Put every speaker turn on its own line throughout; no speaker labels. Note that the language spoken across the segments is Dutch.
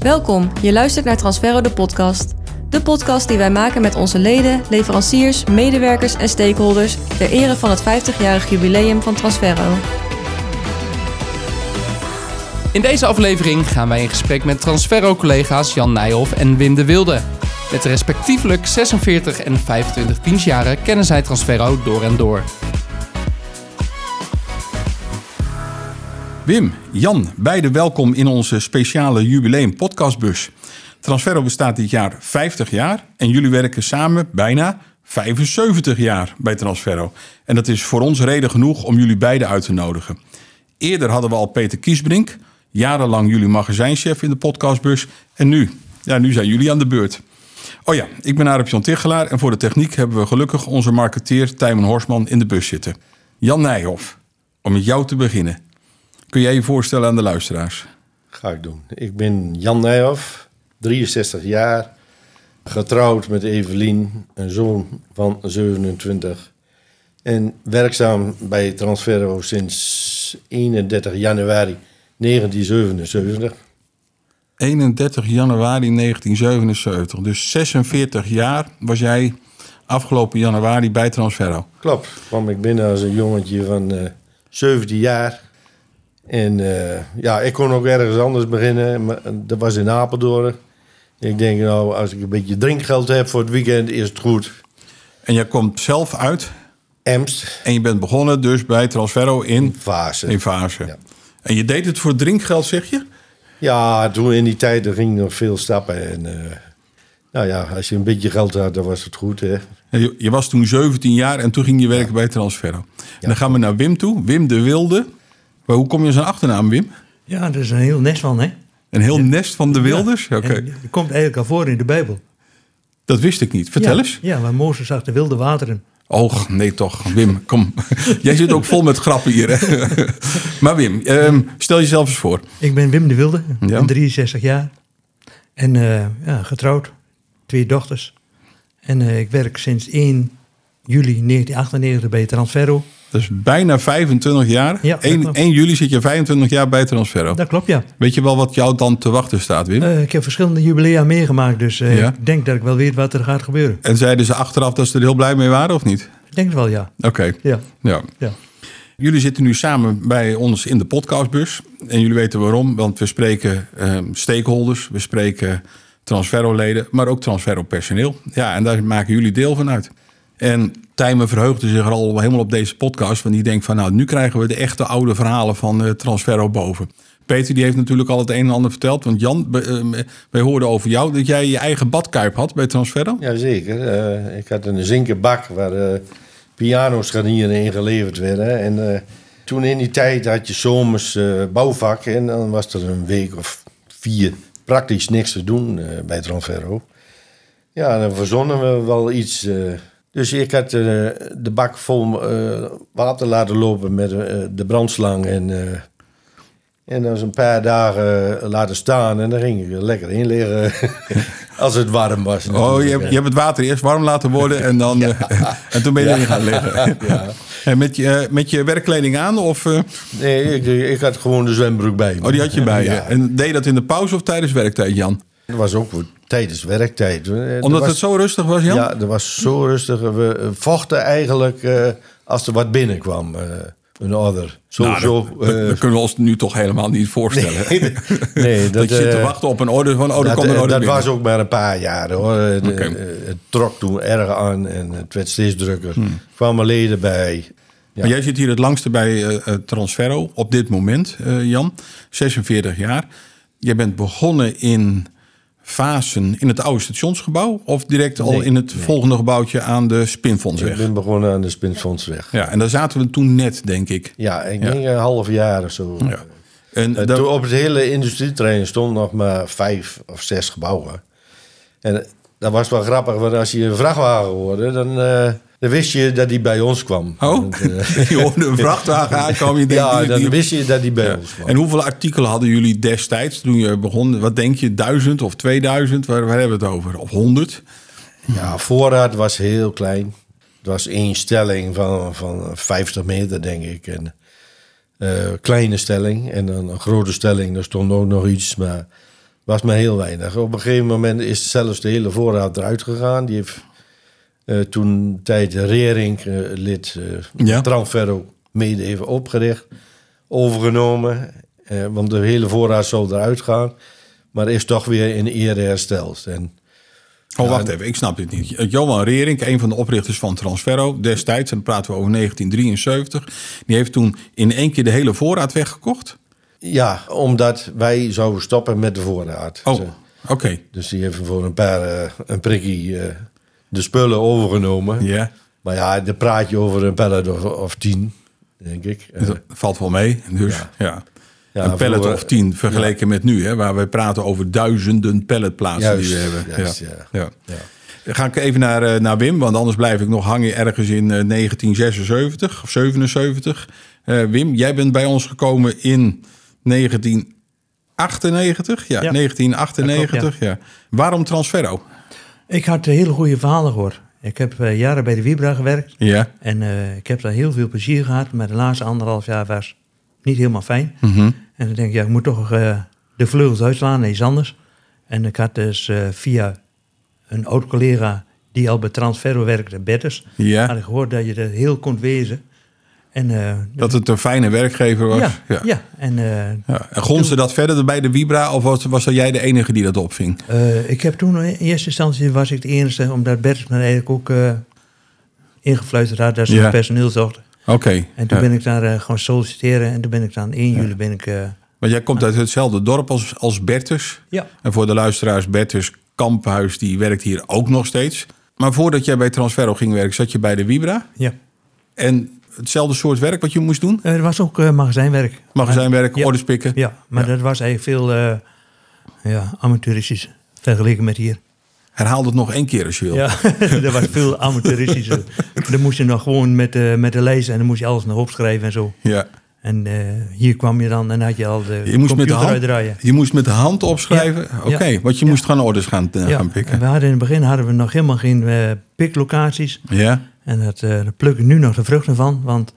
Welkom, je luistert naar Transferro de podcast. De podcast die wij maken met onze leden, leveranciers, medewerkers en stakeholders ter ere van het 50-jarig jubileum van Transferro.
In deze aflevering gaan wij in gesprek met Transferro-collega's Jan Nijhoff en Wim de Wilde. Met respectievelijk 46 en 25 dienstjaren kennen zij Transferro door en door.
Wim, Jan, beide welkom in onze speciale jubileum podcastbus. Transferro bestaat dit jaar 50 jaar en jullie werken samen bijna 75 jaar bij Transferro. En dat is voor ons reden genoeg om jullie beiden uit te nodigen. Eerder hadden we al Peter Kiesbrink, jarenlang jullie magazijnchef in de podcastbus. En nu, ja, nu zijn jullie aan de beurt. Oh ja, ik ben Arep Jan Tichelaar en voor de techniek hebben we gelukkig onze marketeer Tijmen Horsman in de bus zitten. Jan Nijhoff, om met jou te beginnen. Kun jij je voorstellen aan de luisteraars?
Ga ik doen. Ik ben Jan Nijhoff, 63 jaar, getrouwd met Evelien, een zoon van 27. En werkzaam bij Transferro sinds 31 januari 1977.
31 januari 1977, dus 46 jaar was jij afgelopen januari bij Transferro.
Klopt, kwam ik binnen als een jongetje van eh 17 jaar. En eh, ja, ik kon ook ergens anders beginnen. maar Dat was in Apeldoorn. Ik denk, nou, als ik een beetje drinkgeld heb voor het weekend, is het goed.
En jij komt zelf uit
Emst,
en je bent begonnen dus bij Transferro in,
fase.
in Vaassen.
Ja.
En je deed het voor drinkgeld, zeg je?
Ja, toen in die tijd er ging nog veel stappen. En, eh, nou ja, als je een beetje geld had, dan was het goed. Hè?
Je, je was toen 17 jaar en toen ging je werken bij Transferro. en dan gaan we naar Wim toe, Wim de Wilde. Maar hoe kom je aan zijn achternaam, Wim?
Ja, er is een heel nest van, hè?
Een heel nest van de Wilders? Oké,
En die komt eigenlijk al voor in de Bijbel.
dat wist ik niet. Vertel
ja,
eens.
Ja, waar Mozes zag de wilde wateren.
Och, nee toch. Wim, kom. Jij zit ook vol met grappen hier. Hè? maar Wim, ehm, stel jezelf eens voor.
Ik ben Wim de Wilde, ik
Ja.
ben 63 jaar. En eh, ja, getrouwd, twee dochters. En eh, ik werk sinds 1 juli 1998 bij Transferro.
Dat is bijna 25 jaar.
Ja, dat
1,
klopt.
juli zit je 25 jaar bij Transferro.
Dat klopt, ja.
Weet je wel wat jou dan te wachten staat, Wim?
Eh, ik heb verschillende jubilea meegemaakt, dus eh,
Ja.
ik denk dat ik wel weet wat er gaat gebeuren.
En zeiden ze achteraf dat ze er heel blij mee waren of niet?
Ik denk het wel, ja.
Oké.
Ja,
Ja.
ja.
Jullie zitten nu samen bij ons in de podcastbus. En jullie weten waarom, want we spreken ehm, stakeholders, we spreken transferroleden, maar ook transferropersoneel. Ja, en daar maken jullie deel van uit. En Tijmen verheugde zich er al helemaal op deze podcast, want die denkt van nou, nu krijgen we de echte oude verhalen van eh Transferro boven. Peter die heeft natuurlijk al het een en ander verteld, want Jan, we, ehm, wij hoorden over jou dat jij je eigen badkuip had bij Transferro.
Jazeker. Eh, ik had een zinken bak waar eh, pianoscharnieren in geleverd werden. En eh, toen in die tijd had je zomers eh, bouwvak. En dan was er een week of vier praktisch niks te doen eh, bij Transferro. Ja, dan verzonnen we wel iets. eh. dus ik had eh, de bak vol eh, water laten lopen met eh, de brandslang. En, eh, en dan eens een paar dagen eh, laten staan. En dan ging ik er lekker in liggen. Als het warm was.
Oh,
natuurlijk,
je
hè.
hebt, je hebt het water eerst warm laten worden en, dan, eh, en toen ben je erin gaan liggen. En met, je, eh, met je werkkleding aan of... eh,
Nee, ik, ik had gewoon de zwembroek bij me.
oh, die had je bij je.
Ja.
En deed je dat in de pauze of tijdens werktijd, Jan?
Dat was ook voor tijdens werktijd. Eh, er
Omdat
was-
het zo rustig was, Jan?
Ja, dat was zo rustig. We eh, vochten eigenlijk eh, als er wat binnenkwam. eh, een order. Zo,
Nou,
zo,
dat, dat-
eh,
dat kunnen we ons nu toch helemaal niet voorstellen.
nee, nee,
dat,
dat,
je zit te
eh,
wachten op een order van... Oh, er
dat,
komt een
eh,
order
dat
binnen.
was ook maar een paar jaar hoor. Eh, de-
Oké.
eh, het trok toen erg aan en het werd steeds drukker.
Hmm.
Er kwamen leden bij. Ja.
Maar jij zit hier het langste bij eh, eh, Transferro op dit moment, eh, Jan. 46 jaar. Je bent begonnen in Vasen in het oude stationsgebouw... of direct al
Nee,
in het volgende gebouwtje aan de Spinfondsweg?
Ik ben begonnen aan de Spinfondsweg.
Ja, en daar zaten we toen net, denk ik.
Ja, ik denk een half jaar of zo.
Ja. En
Eh,
dat-
toen op het hele industrieterrein stond nog maar vijf of zes gebouwen. En eh, dat was wel grappig, want als je een vrachtwagen hoorde, dan, eh, dan wist je dat die bij ons kwam.
oh,
Want, eh,
je hoorde een vrachtwagen aankomen. Je denkt,
ja,
die-
dan
die-
wist je dat die bij
Ja.
ons kwam.
En hoeveel artikelen hadden jullie destijds toen je begon? Wat denk je, duizend of 2000? Waar, waar hebben we het over? Of honderd?
Ja, voorraad was heel klein. Het was één stelling van, van 50 meter, denk ik. En, eh, kleine stelling en dan een grote stelling. Daar stond ook nog iets, maar was maar heel weinig. Op een gegeven moment is zelfs de hele voorraad eruit gegaan. Die heeft eh, toen tijd Rering, eh, lid eh
Ja.
Transferro, mede even opgericht, overgenomen. Eh, want de hele voorraad zou eruit gaan. Maar is toch weer in ere hersteld. En
Oh, wacht even, ik snap dit niet. Eh, Johan Rering, een van de oprichters van Transferro destijds, en dan praten we over 1973, die heeft toen in één keer de hele voorraad weggekocht.
ja, omdat wij zouden stoppen met de voorraad.
Oh,
Ze-
oké.
Dus die heeft voor een paar, eh, een prikkie eh, de spullen overgenomen.
Ja,
Maar ja, dan praat je over een pallet of, of tien, denk ik. Eh,
dat valt wel mee. Dus, ja.
Ja.
een
Ja,
pallet
vroeger-
of tien vergeleken met nu, hè, waar wij praten over duizenden palletplaatsen die we
Juist,
hebben.
juist,
ja.
ja.
Ja.
Ja.
Dan Ga ik even naar, eh, naar Wim, want anders blijf ik nog hangen ergens in eh, 1976 of 77. Eh, Wim, jij bent bij ons gekomen in 1998. Ja,
Ja.
1998.
Dat
ja. Waarom Transferro?
Ik had eh, hele goede verhalen gehoord. Ik heb eh, jaren bij de Vibra gewerkt.
Ja.
En eh, ik heb daar heel veel plezier gehad. Maar de laatste anderhalf jaar was niet helemaal fijn.
Mhm.
En dan denk ik, ja, ik moet toch eh, de vleugels uitslaan en iets anders. En ik had dus eh, via een oud collega die al bij Transferro werkte, Bertus,
Ja.
had ik gehoord dat je er heel kon wezen. En, eh,
Dat het een fijne werkgever was.
ja, ja. en eh,
Ja. En gonste dat verder bij de Vibra of was, was dat jij de enige die dat opving?
Eh, ik heb toen in eerste instantie was ik de enige, omdat Bert me eigenlijk ook eh ingefluisterd had dat ze
Ja.
personeel zochten.
Oké.
En toen
Ja.
ben ik daar eh, gewoon solliciteren en toen ben ik dan 1 juli ben ik. eh,
Want jij komt uit hetzelfde dorp als, als Bertus.
ja.
En voor de luisteraars, Bertus Kamphuis, die werkt hier ook nog steeds. Maar voordat jij bij Transferro ging werken, zat je bij de Vibra.
ja.
En hetzelfde soort werk wat je moest doen?
Eh, er was ook eh, magazijnwerk.
Magazijnwerk,
Ja.
orders pikken?
Ja, maar dat was eigenlijk veel eh, ja, amateuristisch vergeleken met hier.
Herhaal dat nog één keer als je wil.
Ja, dat was veel amateuristischer. dan moest je nog gewoon met, eh, met de lijst en dan moest je alles nog opschrijven en zo.
Ja.
En eh, hier kwam je dan en had je al de
Je, moest met de
computer
hand,
uitdraaien.
je moest met de hand opschrijven?
Ja.
Oké, want je moest gewoon orders gaan, eh, gaan
en
pikken.
we hadden in het begin hadden we nog helemaal geen eh, piklocaties.
Ja,
En dat, eh, daar pluk ik nu nog de vruchten van. Want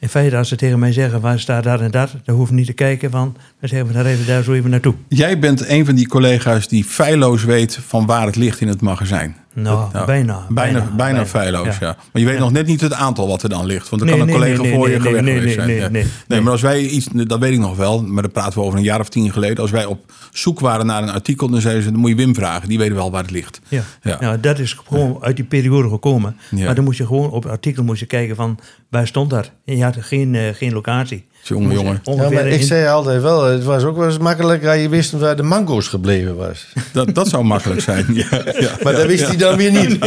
in feite, als ze tegen mij zeggen waar staat dat en dat, dan hoef ik niet te kijken. Van, dan zeggen we daar even, daar zo even naartoe.
Jij bent een van die collega's die feilloos weet van waar het ligt in het magazijn.
Nou,
Nou,
bijna, bijna.
Bijna, bijna, feilloos, ja. Maar je weet nog net niet het aantal wat er dan ligt. Want dan
Nee,
kan een
nee,
collega
nee,
voor
nee,
je
nee,
gelegd
nee,
geweest
nee,
zijn.
nee,
ja.
nee, nee.
maar als wij iets, dat weet ik nog wel, maar dan praten we over een jaar of tien geleden. Als wij op zoek waren naar een artikel, dan zeiden ze, dan moet je Wim vragen. Die weet wel waar het ligt.
Ja.
Ja.
Nou, dat is gewoon uit die periode gekomen.
Ja.
Maar dan moest je gewoon op het artikel moest je kijken van waar stond dat. En je had geen, eh, geen locatie.
Jongen, jongen.
Ja,
Ongeveer
maar ik
in-
zei altijd wel, het was ook wel eens makkelijk als je wist waar de mango's gebleven was.
Dat, dat zou makkelijk zijn. Ja, ja.
Maar dat wist hij dan weer niet.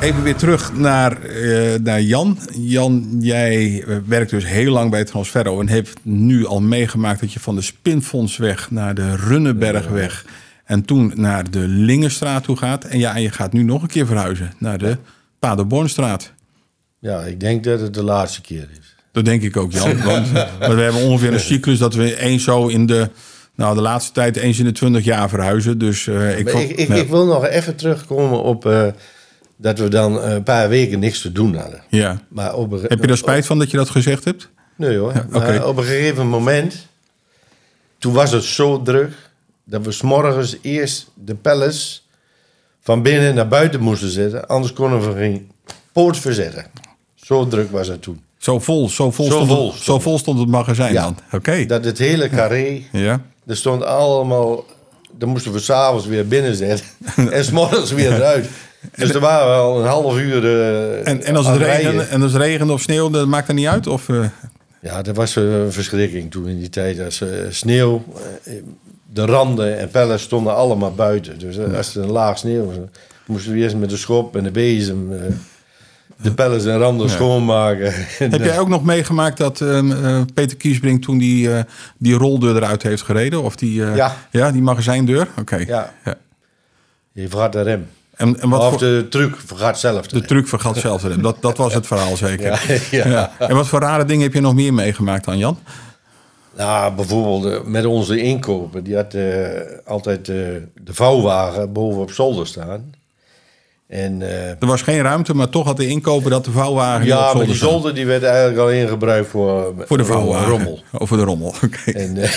Even weer terug naar, eh, naar Jan. Jan, jij eh, werkt dus heel lang bij Transferro en hebt nu al meegemaakt dat je van de Spinfondsweg naar de Runnenbergweg en toen naar de Lingenstraat toe gaat. En ja, en je gaat nu nog een keer verhuizen naar de Paderbornstraat.
Ja, ik denk dat het de laatste keer is.
Dat denk ik ook, Jan. Want, want we hebben ongeveer een cyclus dat we eens zo in de, nou, de laatste tijd eens in de 20 jaar verhuizen. Dus eh, ik,
Maar
hoop-
ik, ik,
ja.
ik wil nog even terugkomen op eh, dat we dan eh, een paar weken niks te doen hadden.
ja.
Maar op een-
Heb je daar spijt van dat je dat gezegd hebt?
Nee hoor.
oké.
Maar op een gegeven moment, toen was het zo druk dat we s'morgens eerst de pallets van binnen naar buiten moesten zetten. Anders konden we geen poort verzetten. Zo druk was het toen.
Zo vol, zo vol,
Zo
stond,
vol
het,
stond
zo vol stond het magazijn
Ja.
dan. Oké.
Dat het hele carré,
Ja.
er stond allemaal, dan moesten we s'avonds weer binnen zetten. en s'morgens weer eruit. Dus er waren wel een half uur. eh,
En, en als het
aan rijden.
regende, en als het regende of sneeuwde, dat maakt dat niet uit? Of, eh,
Ja, dat was eh, een verschrikking toen in die tijd. Als eh, sneeuw, eh, de randen en pellen stonden allemaal buiten. Dus eh, als er een laag sneeuw was, dan moesten we eerst met de schop en de bezem eh, de pellen en randen schoonmaken. En,
heb
eh,
jij ook nog meegemaakt dat ehm, eh, Peter Kiesbrink toen die, eh, die roldeur eruit heeft gereden? Of die, eh,
Ja.
die magazijndeur? Oké.
Ja. Je vergat de rem.
En, en wat
of
voor, de,
de truc vergat zelf. te remmen.
truc vergat zelf te hebben. Dat, dat was het verhaal zeker.
Ja, ja.
En wat voor rare dingen heb je nog meer meegemaakt dan Jan?
Nou, bijvoorbeeld eh, met onze inkopen. Die had eh, altijd eh, de vouwwagen boven op zolder staan. En eh,
Er was geen ruimte, maar toch had de inkoper dat de vouwwagen hier op
ja, maar die
staan.
zolder die werd eigenlijk alleen gebruikt voor, eh,
Voor de
rommel-
vouwwagen.
rommel.
Oh, voor de rommel. oké.
En, eh,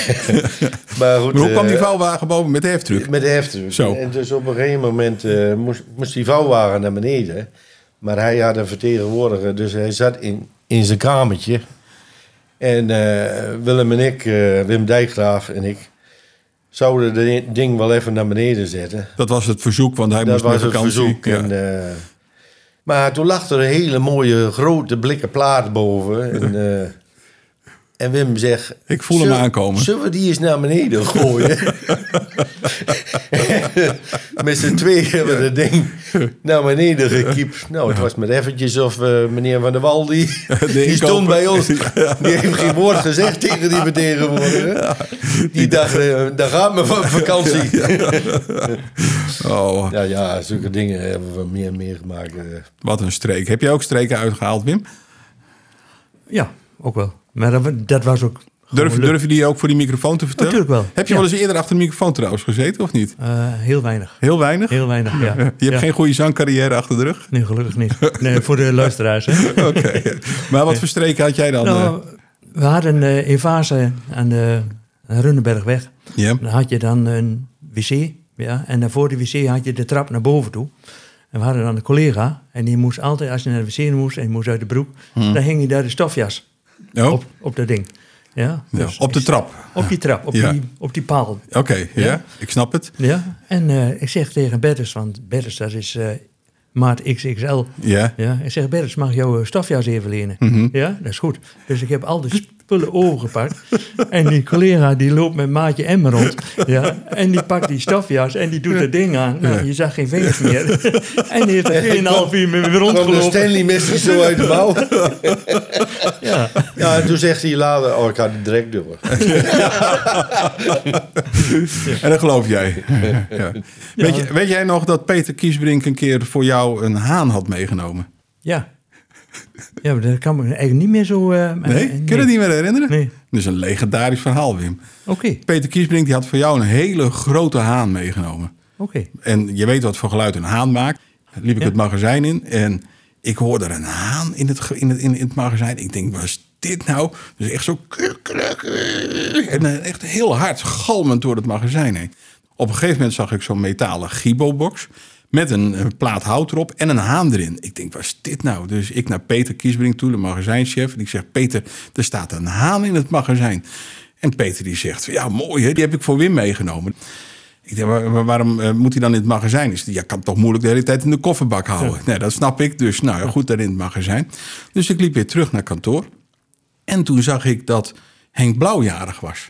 maar goed,
maar hoe kwam die
eh,
vouwwagen boven met de heftruck?
Met de heftruck.
Zo.
En dus op een gegeven moment eh, moest, moest die vouwwagen naar beneden. Maar hij had een vertegenwoordiger, dus hij zat in, in zijn kamertje. En eh, Willem en ik, eh, Wim Dijkgraaf en ik, zouden het ding wel even naar beneden zetten.
Dat was het verzoek, want hij
Dat
moest
was
met
het
vakantie.
verzoek.
Ja.
En, eh, maar toen lag er een hele mooie grote blikken plaat boven. En, eh, en Wim zegt...
Ik voel hem
"Zul-
aankomen."
Zullen we die eens naar beneden gooien? met z'n tweeën hebben we dat ding naar beneden gekiept. Nou, het was met eventjes of eh, meneer Van der Wal, die, die
inkoper.
stond bij ons. Die heeft geen woord gezegd tegen die vertegenwoordiger. Die dacht, eh, daar gaan we van vakantie.
Oh,
eh, Ja, ja, zulke dingen hebben we meer en meer gemaakt. eh.
wat een streek. Heb jij ook streken uitgehaald, Wim?
Ja, ook wel. Maar dat, dat was ook... gewoon
Durf,
leuk.
durf je die ook voor die microfoon te vertellen?
Natuurlijk wel,
Heb je
ja.
wel eens eerder achter de microfoon trouwens gezeten, of niet?
Eh, heel weinig.
Heel weinig?
Heel weinig, ja.
Je hebt
Ja.
geen goede zangcarrière achter de rug?
Nee, gelukkig niet. Nee, voor de luisteraars. Hè.
Oké. Maar wat voor streken had jij dan? eh?
Nou, we hadden eh, in fase aan de Runnebergweg.
Ja.
Dan had je dan een wc. Ja, en dan voor de wc had je de trap naar boven toe. En we hadden dan een collega. En die moest altijd, als je naar de wc moest en je moest uit de broek, dan hing je daar de stofjas
Hmm. Oh,
op, op dat ding. Ja,
ja,
dus
Nou, op de
ik-
trap.
Op die trap, op,
Ja.
die, op die paal.
Oké, ja. ik snap het.
Ja, en eh, ik zeg tegen Bertus, want Bertus dat is eh, maat XXL.
Ja.
Ja, ik zeg Bertus, mag ik jouw eh, stofjas even lenen?
Mhm.
Ja, dat is goed. Dus ik heb al die spullen overgepakt. en die collega die loopt met maatje M rond. Ja, en die pakt die stofjas en die doet dat ding aan. Nou, je zag geen vingers meer. en die heeft er 2,5 uur mee
Kwam de
rondgelopen.
Stanley Messi zo uit de mouw?
Ja.
Ja, en toen zegt hij later, oh, ik had het direct door.
En dat geloof jij. ja. Weet, je, weet jij nog dat Peter Kiesbrink een keer voor jou een haan had meegenomen?
ja. Ja, maar dat kan me eigenlijk niet meer zo... eh,
Nee?
eh,
Kun je dat niet meer herinneren?
Nee.
Dat is een legendarisch verhaal, Wim.
Oké, oké.
Peter Kiesbrink die had voor jou een hele grote haan meegenomen. En je weet wat voor geluid een haan maakt. Liep ik het magazijn in en ik hoorde een haan in het, ge- in het, in het magazijn. Ik denk, wat is dit nou? Dus echt zo... kruk, kruk, kruk. En eh, echt heel hard galmend door het magazijn heen. Op een gegeven moment zag ik zo'n metalen gibo-box... met een, eh, plaat hout erop en een haan erin. Ik denk, wat is dit nou? Dus ik naar Peter Kiesbrink toe, de magazijnchef. En ik zeg, Peter, er staat een haan in het magazijn. En Peter die zegt, ja mooi hè, die heb ik voor Wim meegenomen. Ik denk, waar- waar- waarom eh, moet hij dan in het magazijn? Is die, ja, kan toch moeilijk de hele tijd in de kofferbak houden? Nee, dat snap ik. Dus nou ja, goed, daar in het magazijn. Dus ik liep weer terug naar kantoor. En toen zag ik dat Henk Blauwjarig was.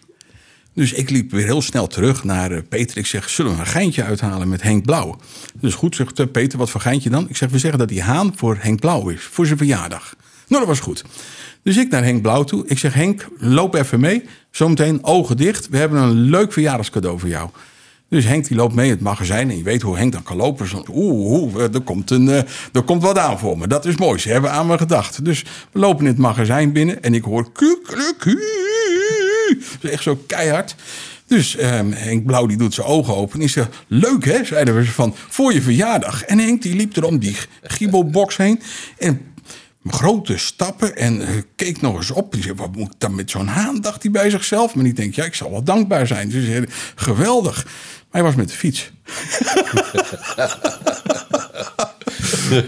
Dus ik liep weer heel snel terug naar eh, Peter. Ik zeg, zullen we een geintje uithalen met Henk Blauw? Dus goed, zegt eh, Peter, wat voor geintje dan? Ik zeg, we zeggen dat die haan voor Henk Blauw is, voor zijn verjaardag. Nou, dat was goed. Dus ik naar Henk Blauw toe. Ik zeg, Henk, loop even mee. Zometeen ogen dicht. We hebben een leuk verjaardagscadeau voor jou. Dus Henk die loopt mee in het magazijn. En je weet hoe Henk dan kan lopen. Zo, oeh, oeh, er, komt een, eh, er komt wat aan voor me. Dat is mooi. Ze hebben aan me gedacht. Dus we lopen in het magazijn binnen. En ik hoor kukeluku. Dus Echt zo keihard. Dus ehm, Henk Blauw die doet zijn ogen open. En die zegt, leuk hè, zeiden we ze van, voor je verjaardag. En Henk die liep er om die giebelbox heen. En grote stappen en eh, keek nog eens op. Die zei, wat moet ik dan met zo'n haan, dacht hij bij zichzelf. Maar die denkt, ja, ik zal wel dankbaar zijn. Dus hij zei, geweldig. Maar hij was met de fiets.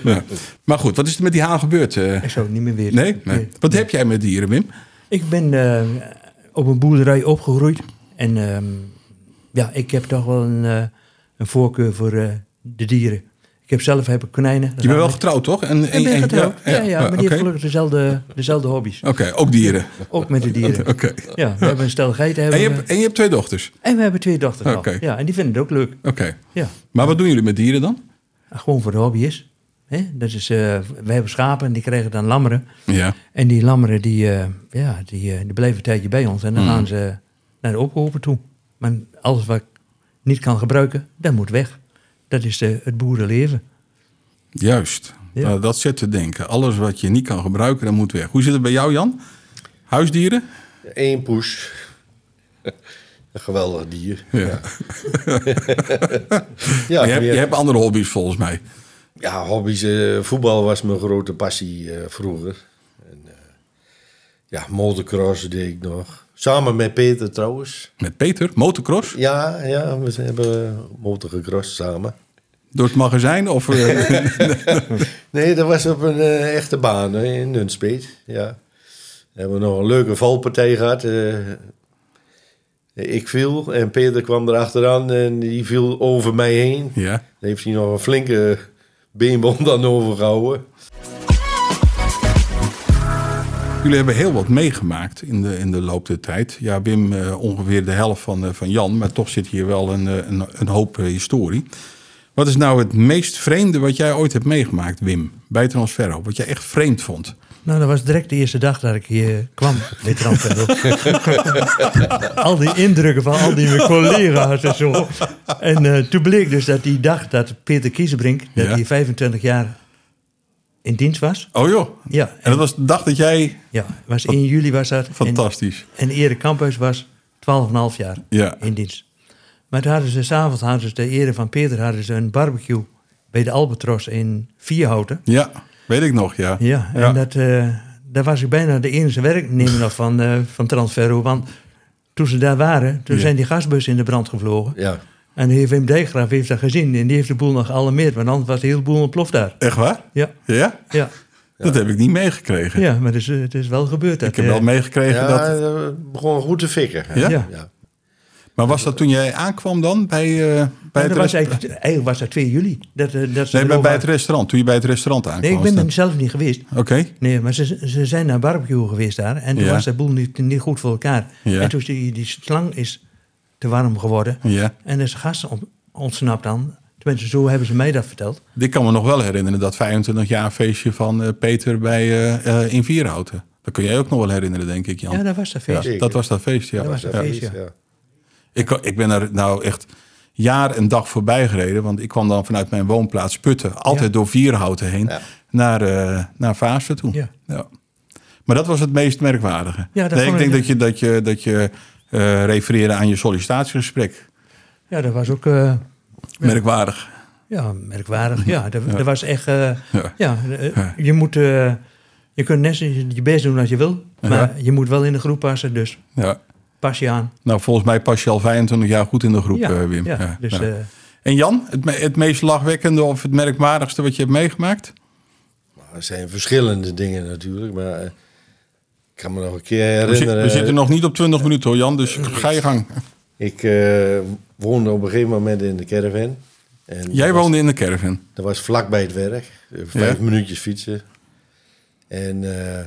Ja. Maar goed, wat is er met die haan gebeurd? eh?
Ik zou het niet meer weer.
nee? nee. Wat heb jij met dieren, Wim?
Ik ben eh, op een boerderij opgegroeid. En ehm, ja, ik heb toch wel een, eh, een voorkeur voor eh, de dieren. Ik heb zelf heb ik konijnen.
Je bent wel getrouwd, toch? En,
Ik ben getrouwd. Ja, ja, maar die
Oké,
hebben gelukkig dezelfde, dezelfde hobby's.
Oké, ook dieren.
Ook met de dieren.
Oké.
Ja, we hebben een stel geiten.
En,
Hebben
je
we.
hebt, en je hebt twee dochters?
en we hebben twee dochters al.
Oké.
Ja, en die vinden het ook leuk.
Oké.
Ja,
Maar wat doen jullie met dieren dan?
gewoon voor de hobby is. Hè? Dat is, eh, we hebben schapen en die krijgen dan lammeren.
Ja.
En die lammeren die, eh, ja, die, eh, die blijven een tijdje bij ons. En dan gaan ze naar de opkoper toe. Maar alles wat ik niet kan gebruiken, dat moet weg. Dat is eh, het boerenleven.
Juist.
Ja.
Nou, dat zet te denken. Alles wat je niet kan gebruiken, dat moet weg. Hoe zit het bij jou, Jan? Huisdieren?
Eén poes. Een geweldig dier.
Ja.
Ja,
je, hebt,
meer-
je hebt andere hobby's volgens mij.
Ja, hobby's. eh, voetbal was mijn grote passie eh, vroeger. En, eh, ja, motocross deed ik nog. Samen met Peter trouwens.
Met Peter, motocross,
Ja, ja we hebben motocross samen.
door het magazijn of... eh,
Nee, dat was op een eh, echte baan hè, in Nunspeet. Ja. Daar hebben we nog een leuke valpartij gehad. eh. ik viel en Peter kwam erachteraan en die viel over mij heen.
ja.
Daar heeft hij nog een flinke beenbond aan overgehouden.
Jullie hebben heel wat meegemaakt in de, in de loop der tijd. Ja, Wim eh, ongeveer de helft van, eh, van Jan, maar toch zit hier wel een, eh, een, een hoop eh, historie. Wat is nou het meest vreemde wat jij ooit hebt meegemaakt, Wim, bij Transferro? Wat jij echt vreemd vond?
Nou, dat was direct de eerste dag dat ik hier kwam met Transferro. al die indrukken van al die mijn collega's en zo. En eh, toen bleek dus dat die dag dat Peter Kiezenbrink, dat
Ja.
hij 25 jaar in dienst was.
Oh joh,
Ja,
en dat was de dag dat jij...
ja was 1 juli was dat. En-
Fantastisch.
En Erik Kamphuis was 12,5 jaar
Ja.
in dienst. Maar toen hadden ze s'avonds, hadden ze de ere van Peter, hadden ze een barbecue bij de Albatros in Vierhouten.
Ja, weet ik nog, ja.
Ja, en Dat, eh, daar was ik bijna de enige werknemer nog van, eh van Transferro. Want toen ze daar waren, toen
Ja.
zijn die gasbussen in de brand gevlogen.
Ja.
En de heer Wim Dijkgraaf heeft dat gezien en die heeft de boel nog gealarmeerd. Want anders was de hele boel ontploft daar.
Echt waar?
Ja,
Ja?
ja,
Dat heb ik niet meegekregen.
ja maar het is, eh, het is wel gebeurd. dat,
Ik heb
eh,
wel meegekregen
Ja, eh,
dat...
dat begon goed te fikken.
Ja?
Ja.
Ja.
Maar was dat toen jij aankwam dan bij, eh, bij,
Maar
het,
dat was
restaurant?
eigenlijk, eigenlijk was dat 2 juli. Dat, eh, dat ze
nee, maar
erover
bij het
hadden.
restaurant? Toen je bij het restaurant aankwam?
nee, ik
was
ben
dat-
er zelf niet geweest.
Oké,
Nee, maar ze, ze zijn naar barbecue geweest daar. En toen
Ja.
was dat boel niet, niet goed voor elkaar.
Ja.
En toen is die, die slang is te warm geworden.
ja.
En er is gas ont- ontsnapt dan. Tenminste, zo hebben ze mij dat verteld.
Ik kan me nog wel herinneren dat 25 jaar feestje van eh, Peter bij, eh, eh, in Vierhouten. Dat kun jij ook nog wel herinneren, denk ik, Jan.
Ja, dat was dat feest.
Ja, dat was dat feest, ja.
Dat was dat
Ja.
feest, ja.
Ik, ik ben er nou echt jaar en dag voorbij gereden. Want ik kwam dan vanuit mijn woonplaats Putten. Altijd
Ja.
door Vierhouten heen
Ja.
naar, eh naar Vaassen toe.
Ja.
Maar dat was het meest merkwaardige.
Ja, dat
nee, ik
vond
denk
ik-
dat je, dat je, dat je eh, refereerde aan je sollicitatiegesprek.
Ja, dat was ook eh,
Merkwaardig.
ja, merkwaardig. Ja, dat, dat was echt... eh,
Ja.
ja, eh,
Ja.
je moet... eh, je kunt net zo je best doen als je wil. Maar je moet wel in de groep passen. Dus
Ja.
pas je aan.
Nou, volgens mij pas je al 25 jaar goed in de groep,
ja,
eh, Wim.
ja,
Ja,
dus...
ja.
eh,
En Jan, het, me- het meest lachwekkende of het merkwaardigste wat je hebt meegemaakt?
Er zijn verschillende dingen natuurlijk, maar eh, ik kan me nog een keer
We, zit-
herinneren.
we zitten nog niet op 20 minuten hoor, Jan, dus ga je gang.
Ik eh, woonde op een gegeven moment in de caravan. En
Jij
dat was-
woonde in de caravan.
Dat was vlak bij het werk, eh, vijf
Ja.
minuutjes fietsen. En eh,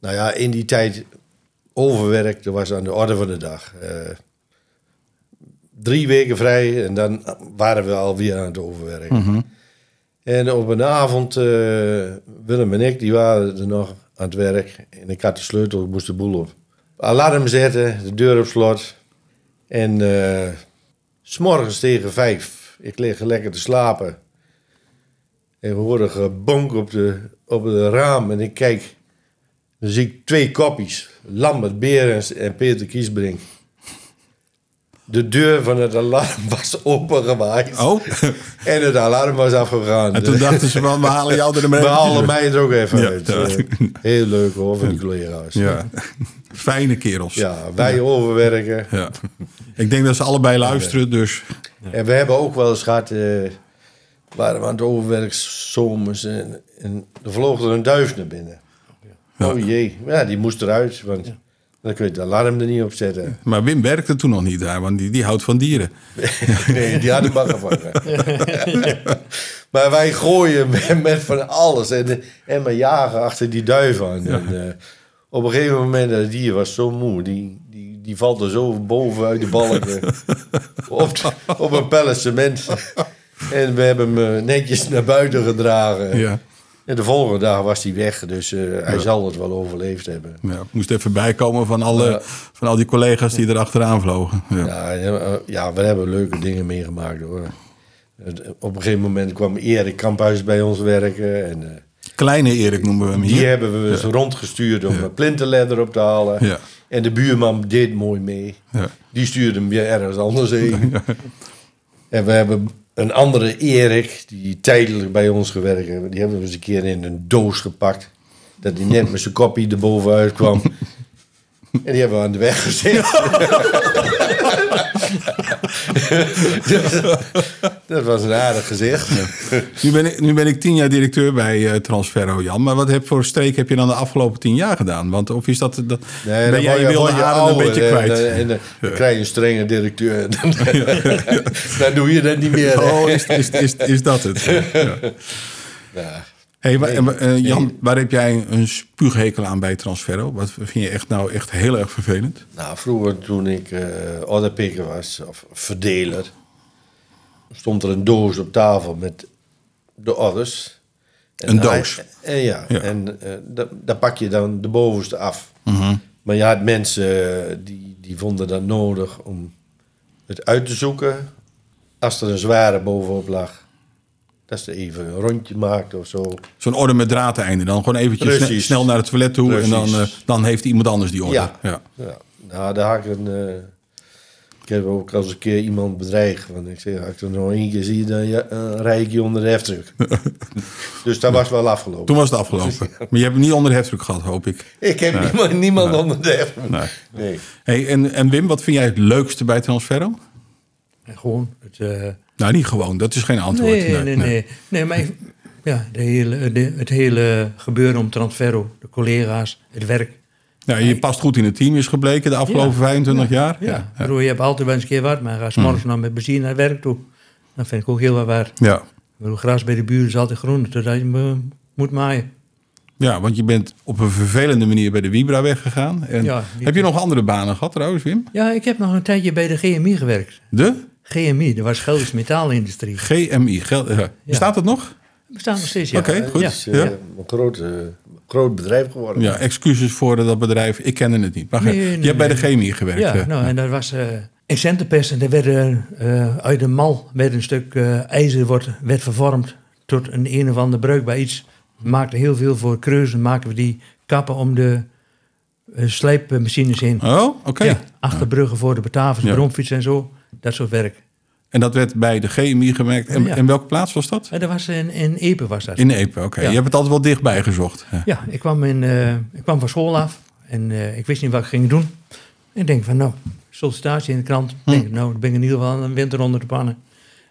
nou ja, in die tijd overwerk, dat was aan de orde van de dag. Eh, drie weken vrij en dan waren we alweer aan het overwerken. En op een avond, eh, Willem en ik, die waren er nog aan het werk. En ik had de sleutel, ik moest de boel op. Alarm zetten, de deur op slot. En eh, s s'morgens tegen vijf, ik lig lekker te slapen. En we horen gebonk op de, op het raam. En ik kijk, dan zie ik twee kopjes. Lambert Berens en Peter Kiesbrink. De deur van het alarm was opengewaaid.
Oh,
En het alarm was afgegaan.
en toen dachten ze van, we halen jou er maar
We
eventjes
halen
uit.
mij er ook even
Ja,
uit.
ja.
Eh, Heel leuk hoor, van die collega's.
Ja, fijne kerels.
Ja, wij overwerken.
Ja. Ik denk dat ze allebei luisteren, dus
En we hebben ook wel eens gehad... eh waren we aan het overwerken, zomers... En, en er vloog er een duif naar binnen.
Ja.
Oh jee. Ja, die moest eruit, want dan kun je het alarm er niet op zetten.
Maar Wim werkte toen nog niet daar, want die, die houdt van dieren.
Nee, die had hem bakken van. maar wij gooien met, met van alles. En, en we jagen achter die duiven aan. En, eh, op een gegeven moment, dat dier was zo moe. Die, die, die valt er zo boven uit de balken. op, de- op een pallet cement. en we hebben hem eh, netjes naar buiten gedragen.
Ja.
En de volgende dag was hij weg. Dus eh, hij zal het wel overleefd hebben.
Ja, ik moest even bijkomen van, alle,
Ja.
van al die collega's die erachteraan vlogen. Ja.
Ja, eh, ja, we hebben leuke dingen meegemaakt hoor. Het- Op een gegeven moment kwam Erik Kamphuis bij ons werken. En, eh,
Kleine Erik noemen we hem
die
hier.
hebben we eens rondgestuurd om een plintenladder op te halen.
Ja.
En de buurman deed mooi mee.
Ja.
Die stuurde hem weer ergens anders heen. En we hebben een andere Erik, die tijdelijk bij ons gewerkt hebben, die hebben we eens een keer in een doos gepakt. Dat hij net met zijn kopie erbovenuit kwam. En die hebben we aan de weg gezet. Dus, dat was een aardig gezicht.
Nu ben, ik, nu ben ik tien jaar directeur bij eh, Transferro, Jan. Maar wat heb, voor streek heb je dan de afgelopen tien jaar gedaan? Want of is dat... dat
Nee,
ben
dan
jij
word
je wilde
word je
haren een
ouder
beetje
en,
kwijt?
eh, En, dan- dan krijg je een strenge directeur. Dan, dan doe je dat niet meer. hè.
Oh, is, is, is, is dat het? Ja.
Ja.
Hey, wa- en wa- eh, Jan, waar heb jij een spuughekel aan bij Transferro? Wat vind je echt nou echt heel erg vervelend?
Nou, vroeger toen ik eh orderpikker was, of verdeler, stond er een doos op tafel met de orders. En
Een
hij-
doos?
en ja,
Ja.
en eh, da- daar pak je dan de bovenste af.
Mhm.
Maar je had mensen eh, die, die vonden dat nodig om het uit te zoeken. Als er een zware bovenop lag, dat ze even een rondje maakten of zo.
Zo'n orde met draadeinden. Dan gewoon eventjes sne-
Precies.
snel naar het toilet toe. En dan,
Precies.
eh, dan heeft iemand anders die orde.
Ja. Ja, nou, daar had ik een. eh, ik heb ook als een keer iemand bedreigd. Want ik zeg, als ik er nog één keer zie, dan ja, eh, rijd ik je onder de heftruck. dus dat was wel afgelopen.
Toen was het afgelopen. Maar je hebt hem niet onder de heftruck gehad, hoop ik.
Ik heb niemand, niemand onder de heftruck.
Nee.
Nee.
Hey, en, en Wim, wat vind jij het leukste bij Transferro?
En gewoon het... eh,
Nou, niet gewoon. Dat is geen antwoord.
nee, nee, nee, nee. maar ik- ja, de hele, de- het hele gebeuren om Transferro, de collega's, het werk.
Nou, je past goed in het team, is gebleken de afgelopen
Ja.
25 jaar.
Ja, Ik bedoel, je hebt altijd wel eens een keer wat, maar ga s'morgens nou met plezier naar werk toe. Dat vind ik ook heel wat waard. Ik
ja.
bedoel, gras bij de buren is altijd groen, totdat je me moet maaien.
Ja, want je bent op een vervelende manier bij de Vibra weggegaan. En
Ja, die-
heb je nog andere banen gehad trouwens, Wim?
Ja, ik heb nog een tijdje bij de GMI gewerkt.
De
GMI, dat was Gelders Metaalindustrie.
GMI. Gel eh, Bestaat dat nog?
Bestaat nog steeds, ja.
Oké, goed.
Ja.
is eh,
Ja.
een groot, eh, groot bedrijf geworden.
Ja, excuses voor dat bedrijf. Ik kende het niet. Maar
Nee,
ge-
nee,
je hebt bij de
nee.
chemie gewerkt.
Ja,
eh.
nou, en dat was eh excenterpest. En daar werd, eh, eh, uit een mal werd een stuk eh, ijzer wordt, werd vervormd tot een een of ander bruikbaar iets. Maakte heel veel voor kreuzen, maken we die kappen om de eh, slijpmachines heen.
Oh, oké.
Ja, achterbruggen voor de Batavus,
Ja.
bromfiets en zo. Dat soort werk.
En dat werd bij de chemie gemerkt. En,
Oh, Ja.
en welke plaats was dat?
En dat was in, in Epe was dat.
In Epe, oké.
Ja.
Je hebt het altijd wel dichtbij gezocht. Ja.
Ja, ik kwam, in, eh, ik kwam van school af en eh, ik wist niet wat ik ging doen. En ik denk van nou, sollicitatie in de krant. Ik Denk,
Hm.
nou, dan ben ik in ieder geval een winter onder de pannen.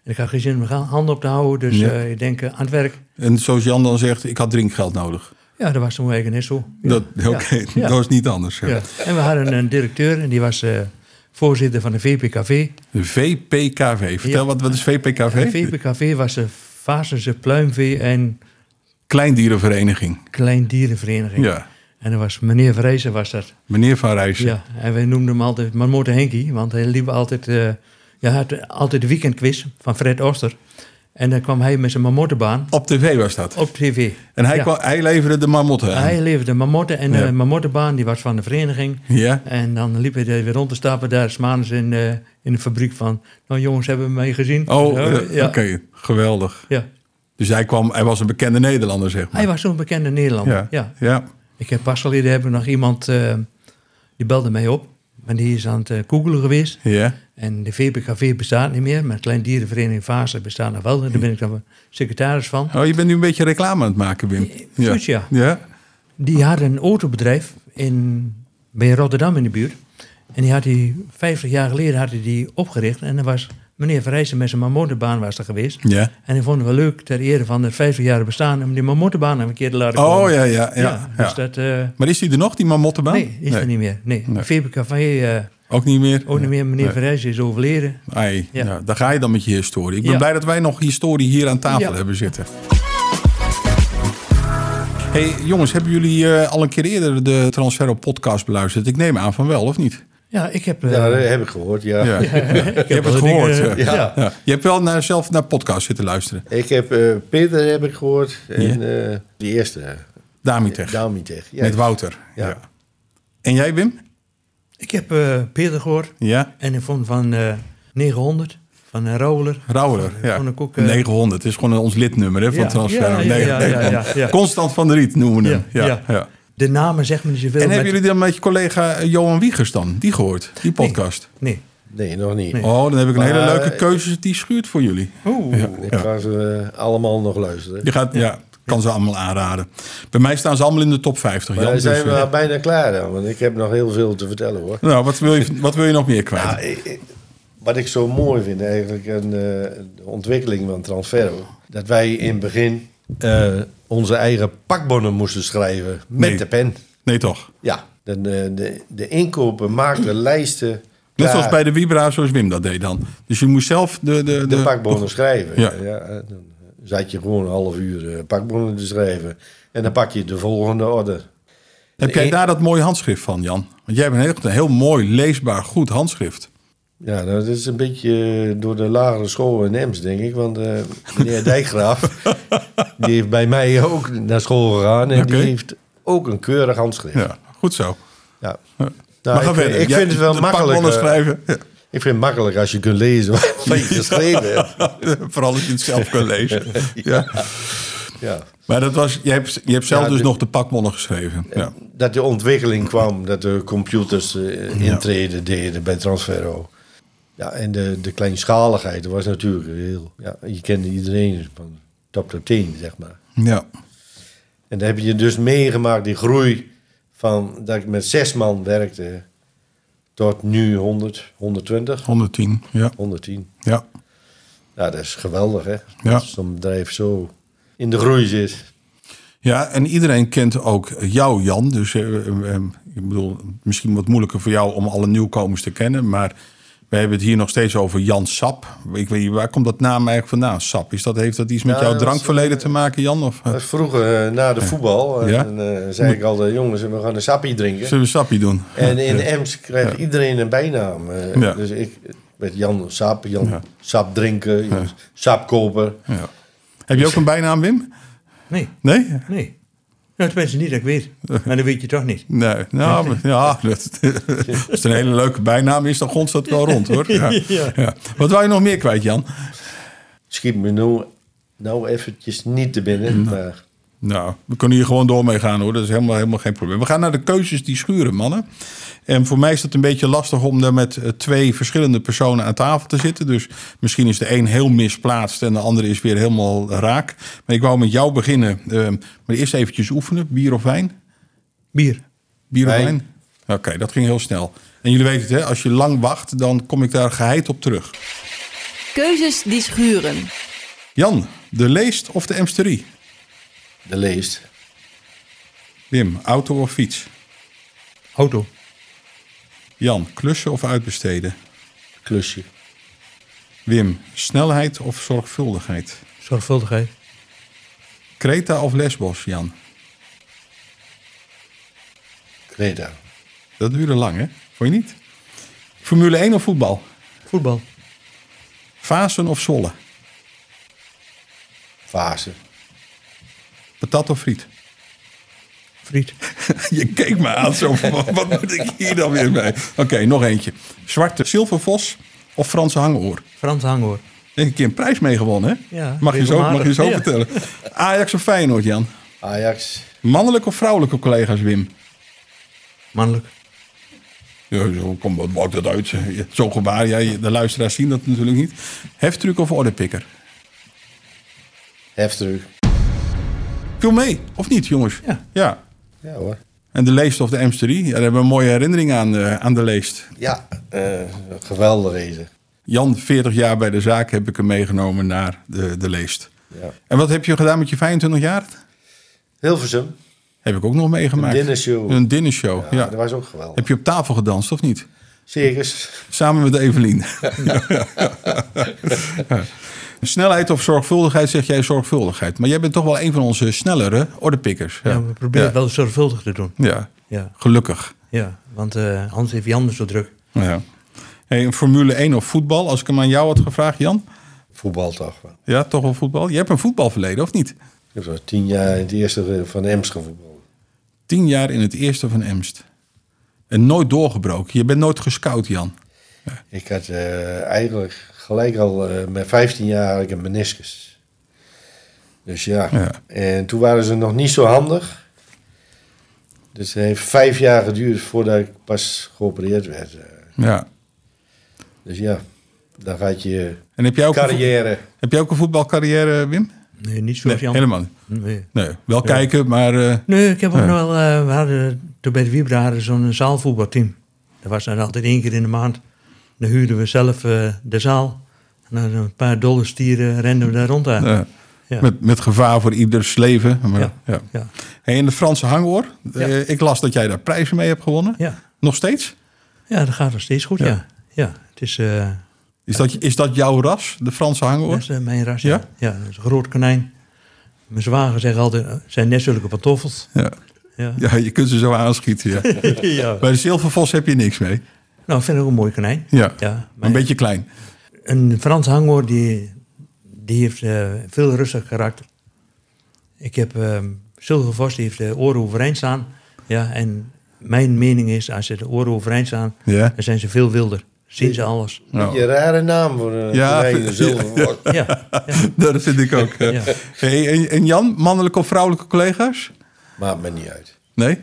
En ik had geen zin om mijn ga- handen op te houden, dus
Ja.
eh, ik denk eh, aan het werk.
En zoals Jan dan zegt, ik had drinkgeld nodig.
Ja, dat was toen eigenlijk net zo. Ja.
Dat, oké,
Ja.
dat is niet anders. ja.
Ja. En we hadden een directeur en die was eh, voorzitter van de VPKV.
De VPKV. Vertel,
Ja.
wat, wat is VPKV?
De VPKV was de Vasense Pluimvee en
Kleindierenvereniging.
Kleindierenvereniging.
Ja.
En dat was meneer Vrijzen was dat.
Meneer Van Rijssen.
Ja, en wij noemden hem altijd Marmotte Henkie, want hij liep altijd, eh, ja, hij had altijd de weekendquiz van Fred Oster. En dan kwam hij met zijn marmottenbaan
Op tv was dat.
op tv.
En hij,
Ja.
kwam, hij leverde de marmotten aan.
Hij leefde marmotten en
Ja.
de marmottenbaan die was van de vereniging.
Ja.
En dan liep hij daar weer rond te stappen, daar is Manus in, eh, in de fabriek van, nou jongens, hebben we mij gezien?
Oh,
Ja,
eh,
ja,
oké. Geweldig.
ja.
Dus hij, kwam, hij was een bekende Nederlander, zeg maar.
Hij was zo'n bekende Nederlander,
ja.
ja.
ja.
Ik heb pas geleden hebben nog iemand, eh, die belde mij op. En die is aan het eh, googelen geweest.
Ja.
En de VPKV bestaat niet meer, maar de Kleindierenvereniging Vaassen bestaat nog wel. En daar ben ik dan secretaris van.
Oh, je bent nu een beetje reclame aan het maken, Wim. Ja.
Goed, ja.
ja.
Die had een autobedrijf in, bij Rotterdam in de buurt. En die had hij 50 jaar geleden had hij die opgericht. En dan was meneer Verrijzen met zijn marmottenbaan was er geweest.
Ja.
En die vonden we leuk ter ere van de 50 jaar bestaan om die marmottenbaan een keer te laten komen.
Oh, ja, ja, ja.
dus
ja.
dat... eh,
Maar is hij er nog, die marmottenbaan?
nee, is er niet meer. Nee,
Nee.
VPKV eh,
Ook niet meer?
ook niet meer. Meneer
Nee.
Verrijzen is overleden.
Ai,
Ja.
nou, daar ga je dan met je historie. Ik ben
Ja.
blij dat wij nog historie hier aan tafel
Ja.
hebben zitten. Hey jongens, hebben jullie eh, al een keer eerder de Transfer op podcast beluisterd? Ik neem aan van wel, of niet?
Ja, ik heb... eh,
Ja, dat heb ik gehoord, ja.
Ja. Je hebt het
wel
gehoord.
dingen-
ja.
ja.
Ja. Je hebt wel naar, zelf naar podcast zitten luisteren.
Ik heb eh, Peter heb ik gehoord. En eh, die eerste,
Damitech.
Damitech. Ja,
Met Wouter. Ja.
Ja.
En jij, Wim?
Ik heb eh Peter gehoord
Ja.
en ik vond van eh 900, van eh, een roller.
Rauwler. Ja.
Vond ik ook, eh,
900 is gewoon ons lidnummer hè, van
Ja.
Transfer.
Ja, ja,
Nee,
ja, ja,
900.
ja, ja.
Constant van der Riet noemen we hem.
Ja,
ja.
ja.
ja.
De namen zeggen me niet zoveel.
En
maar-
hebben jullie dan met je collega Johan Wiegers dan? Die gehoord, die podcast?
Nee,
Nee, nog niet.
Nee.
Oh, dan heb ik een hele
Maar,
leuke
eh,
keuze die schuurt voor jullie.
Oeh.
Oh,
Ik ga ze eh, allemaal nog luisteren.
Je gaat, ja. kan ze allemaal aanraden. Bij mij staan ze allemaal in de top 50. Jan,
Maar dan
dus,
zijn we
eh,
al bijna klaar dan, want ik heb nog heel veel te vertellen hoor.
Nou, wat wil, je, wat wil je nog meer kwijt?
Ja, ik- ik- wat ik zo mooi vind eigenlijk aan eh, de ontwikkeling van Transferro, dat wij in het begin eh, onze eigen pakbonnen moesten schrijven met
Nee.
de pen.
Nee, toch?
Ja, de, de, de, de inkopen maakten lijsten.
Net
klaar.
zoals bij de Vibra, zoals Wim dat deed dan. Dus je moest zelf de... De,
de pakbonnen schrijven.
Ja.
Ja. eh, dan zat je gewoon een half uur eh, pakbonnen te schrijven. En dan pak je de volgende order.
Heb jij daar dat mooie handschrift van, Jan? Want jij hebt een heel, een heel mooi, leesbaar, goed handschrift.
Ja, nou, dat is een beetje eh, door de lagere school in Ems, denk ik. Want eh, meneer Dijkgraaf, die heeft bij mij ook naar school gegaan. En
Oké.
die heeft ook een keurig handschrift. Ja.
Ja, goed zo.
Nou,
maar ga
ik,
verder.
ik
Jij-
vind het wel
de pakbonnen
makkelijk. eh,
schrijven. Ja.
Ik vind het makkelijk als je kunt lezen wat je geschreven hebt.
Vooral als je het zelf kan lezen. Ja.
Ja.
Maar dat was, je, hebt, je hebt zelf
Ja,
dus
dit-
nog de pakmonnen geschreven. Ja.
dat de ontwikkeling kwam, dat de computers eh, intreden deden bij Transferro. Ja, en de, de kleinschaligheid was natuurlijk heel... Ja, je kende iedereen van top tot teen, zeg maar.
ja.
En dan heb je dus meegemaakt die groei van dat ik met zes man werkte tot nu 100, 120,
110. Ja.
110.
ja.
Ja, dat is geweldig, hè?
Ja.
Dat zo'n bedrijf zo in de groei zit.
Ja, en iedereen kent ook jou, Jan. Dus eh, eh, eh, ik bedoel, misschien wat moeilijker voor jou om alle nieuwkomers te kennen. Maar we hebben het hier nog steeds over Jan Sap. Ik weet, niet, waar komt dat naam eigenlijk vandaan? Sap. Is dat, heeft dat iets met
Ja,
jouw
Nou, dat was,
drankverleden te maken, Jan? Of, eh,
Dat is Vroeger eh, na de voetbal eh,
Ja.
en, eh, zei ik altijd, jongens, we gaan een sappie drinken.
zullen we Sappie doen?
En in Ems krijgt iedereen een bijnaam. eh,
Ja.
Dus ik werd Jan Sap, Jan Sap drinken, Jan Sap kopen.
Ja. Heb je ook een bijnaam, Wim?
Nee,
Nee?
nee. Nou, tenminste niet dat ik weet. Maar dat weet je toch niet.
Nee, nou, maar- ja, dat, als het een hele leuke bijnaam is, dan gonst dat wel rond, hoor. Ja.
Ja.
Ja. Wat wou je nog meer kwijt, Jan?
Schiet me nou, nou eventjes niet te binnen. Maar
Nou, we kunnen hier gewoon door mee gaan hoor. Dat is helemaal, helemaal geen probleem. We gaan naar de keuzes die schuren, mannen. En voor mij is het een beetje lastig om daar met eh, twee verschillende personen aan tafel te zitten. Dus misschien is de een heel misplaatst en de andere is weer helemaal raak. Maar ik wou met jou beginnen. Ehm, maar eerst eventjes oefenen. Bier of wijn?
Bier.
Bier of
Wijn.
wijn? Oké, dat ging heel snel. En jullie weten het, hè? als je lang wacht, dan kom ik daar geheid op terug.
Keuzes die schuren.
Jan, de Leest of de Emsterie?
de leest.
Wim, auto of fiets?
Auto.
Jan, klussen of uitbesteden?
Klusje.
Wim, snelheid of zorgvuldigheid?
Zorgvuldigheid.
Creta of Lesbos, Jan?
Creta.
Dat duurde lang, hè? Vond je niet? Formule 1 of voetbal?
Voetbal.
Vasen of Zwolle?
Fase.
Patat of friet?
Friet.
Je keek me aan zo van, wat- wat moet ik hier dan weer mee? Oké, nog eentje. Zwarte zilvervos of Franse hangoor?
Frans Hangoor.
Denk een keer een prijs mee gewonnen, hè?
Ja,
mag, je zo, mag je zo
regelmatig,
vertellen. Ajax of Feyenoord, Jan?
Ajax.
Mannelijke of vrouwelijke collega's, Wim?
Mannelijk.
Ja, zo, kom, wat maakt dat uit? Zo gebaar, jij, de luisteraars zien dat natuurlijk niet. Heftruck of orderpikker?
Heftrug.
Viel mee, of niet, jongens?
Ja.
Ja hoor.
En de leest of de Amsterie, ja, daar hebben we een mooie herinnering aan, eh, aan de leest.
Ja, eh, geweldig deze.
Jan, 40 jaar bij de zaak, heb ik hem meegenomen naar de, de leest.
Ja.
En wat heb je gedaan met je 25 jaar?
Hilversum.
Heb ik ook nog meegemaakt.
Een dinnershow.
Een dinnershow, ja.
Ja, Dat was ook geweldig.
Heb je op tafel gedanst, of niet?
Zeker.
Samen met Evelien. Ja. Snelheid of zorgvuldigheid, zeg jij zorgvuldigheid. Maar jij bent toch wel een van onze snellere ordepikkers.
Ja, we proberen
ja.
het wel zorgvuldig te doen.
Ja,
Ja,
gelukkig.
ja. want eh anders heeft Jan het zo druk.
Ja. Hey, een Formule 1 of voetbal, als ik hem aan jou had gevraagd, Jan?
Voetbal toch. wel.
Ja, toch wel voetbal? Je hebt een voetbalverleden, of niet?
Ik heb zo'n tien jaar in het eerste van Ems gevoetbald.
Tien jaar in het eerste van Emst. En nooit doorgebroken. Je bent nooit gescout, Jan.
Ik had eh, eigenlijk gelijk al eh, met 15 jaar had ik een meniscus. Dus ja.
Ja.
En toen waren ze nog niet zo handig. Dus het heeft vijf jaar geduurd voordat ik pas geopereerd werd. eh.
Ja.
Dus ja, dan gaat je
En heb jij ook, een, vo-
carrière.
heb jij ook een voetbalcarrière, Wim?
Nee, niet zoals
Nee,
Jan.
helemaal niet.
Nee.
Nee, wel kijken, maar... eh,
Nee, ik heb ook
Ja.
nog wel. eh, we hadden toen bij de Wiebra hadden we zo'n eh, zaalvoetbalteam. Dat was dan altijd één keer in de maand. Dan huurden we zelf eh, de zaal. En dan een paar dolle stieren renden we daar rond aan.
eh,
Ja.
Met, met gevaar voor ieders leven. Maar, ja.
Ja. Ja.
Hey, en de Franse hangoor. eh, ik las dat jij daar prijzen mee hebt gewonnen.
Ja.
Nog steeds?
ja, dat gaat nog steeds goed, ja. Ja, het is, eh,
Is dat, is dat jouw ras, de Franse hangoor?
dat is, eh, mijn ras.
Ja?
Ja? ja, dat is een groot konijn. Mijn zwager zegt altijd, eh, zijn net zulke pantoffels.
Ja.
Ja.
ja, je kunt ze zo aanschieten. Ja.
Ja.
Bij de zilvervos heb je niks mee.
Nou, ik vind het ook een mooi konijn.
Ja,
Ja,
maar een beetje klein.
Een Frans hangoor die, die heeft eh, veel rustig karakter. Ik heb eh, Silver Vos, die heeft de oren overeind staan. Ja, en mijn mening is, als ze de oren overeind staan,
Ja.
dan zijn ze veel wilder. Zien ze alles.
Nou,
Je rare naam voor een
Ja,
ja,
ja.
zilverwoord.
Ja, ja,
dat vind ik ook. eh.
Ja.
Hey, en, en Jan, mannelijke of vrouwelijke collega's?
Maakt me niet uit.
Nee?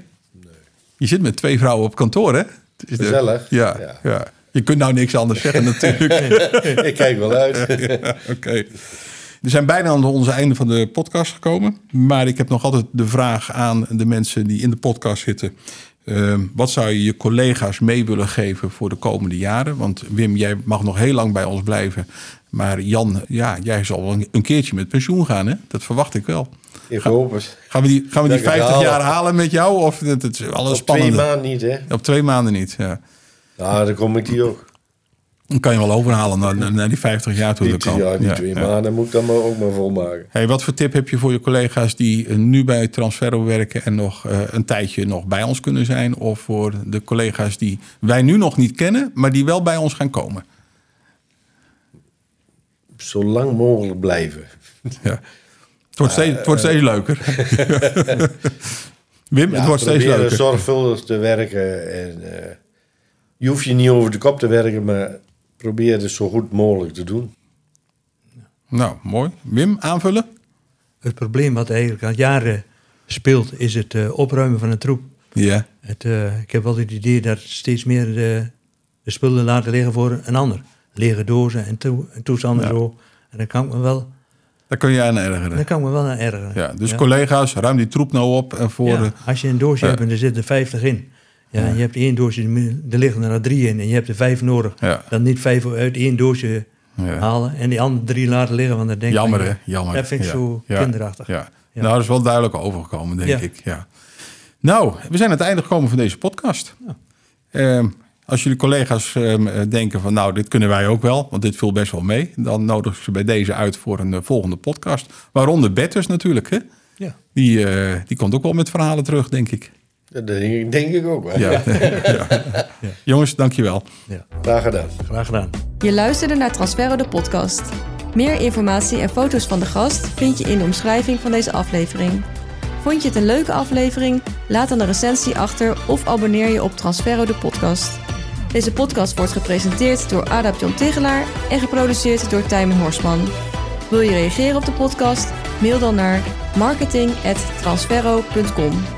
Je zit met twee vrouwen op kantoor, hè? Het is de-
Gezellig,
Ja, ja.
ja.
Je kunt nou niks anders zeggen natuurlijk.
Ik kijk wel uit.
Ja, Oké. We zijn bijna aan onze einde van de podcast gekomen. Maar ik heb nog altijd de vraag aan de mensen die in de podcast zitten. Ehm, wat zou je je collega's mee willen geven voor de komende jaren? Want Wim, jij mag nog heel lang bij ons blijven. Maar Jan, ja, jij zal wel een- een keertje met pensioen gaan, hè? Dat verwacht ik wel.
Ik hoop het.
Gaan we die, gaan we die
Dat ik het
50
haal.
jaar halen met jou? Of het, het is alles
Op twee
spannend?
maanden niet, hè?
Op twee maanden niet, ja.
Nou, dan kom ik hier ook.
Dan kan je wel overhalen naar, naar- naar die 50 jaar toe.
Die,
dat
twee-
kan.
ja, die
Ja,
twee
ja.
maanden moet ik dan maar ook maar volmaken.
Hey, wat voor tip heb je voor je collega's die eh, nu bij Transferro werken en nog eh, een tijdje nog bij ons kunnen zijn? Of voor de collega's die wij nu nog niet kennen, maar die wel bij ons gaan komen?
Zo lang mogelijk blijven.
Ja. Het wordt steeds, het wordt steeds leuker. Wim,
Ja,
het wordt steeds
proberen
leuker.
zorgvuldig te werken. En, eh, je hoeft je niet over de kop te werken, maar probeer het zo goed mogelijk te doen.
Nou, mooi. Wim, aanvullen?
het probleem wat eigenlijk al jaren speelt, is het eh, opruimen van een troep.
Ja.
Het, eh, ik heb wel het idee dat steeds meer de, de spullen laten liggen voor een ander. Lege dozen en, toe- en toestanden
Ja.
zo. En dan kan ik me wel
Daar kun je aan
Dan
ergeren.
kan ik me wel aan ergeren.
Ja, dus collega's, ruim die troep nou op. En voor,
Ja,
eh,
Als je een doosje hebt en er zitten 50 in. Ja, En je hebt één doosje, er liggen er nou drie in en je hebt er vijf nodig.
Ja.
Dan niet vijf uit één doosje
Ja.
halen en die andere drie laten liggen. Want dan denk ik-
Jammer, hè? Jammer.
Dat vind ik
Ja.
zo
Ja.
kinderachtig.
Ja.
Ja.
Nou, dat is wel duidelijk overgekomen, denk
Ja.
ik. Ja. Nou, we zijn aan het einde gekomen van deze podcast. Ehm, als jullie collega's ehm, eh, denken van, nou, dit kunnen wij ook wel, want dit viel best wel mee, dan nodig ik ze bij deze uit voor een eh, volgende podcast. Waaronder Betters natuurlijk, hè?
Ja.
Die, eh, die komt ook wel met verhalen terug, denk ik.
Dat denk, denk ik ook. Hè?
Ja. ja. Jongens, dankjewel.
Ja,
Graag gedaan.
graag gedaan.
Je luisterde naar Transferro de podcast. Meer informatie en foto's van de gast vind je in de omschrijving van deze aflevering. Vond je het een leuke aflevering? Laat dan een recensie achter of abonneer je op Transferro de podcast. Deze podcast wordt gepresenteerd door Adap John Tegelaar en geproduceerd door Tijmen Horsman. Wil je reageren op de podcast? Mail dan naar marketing@transferro.com.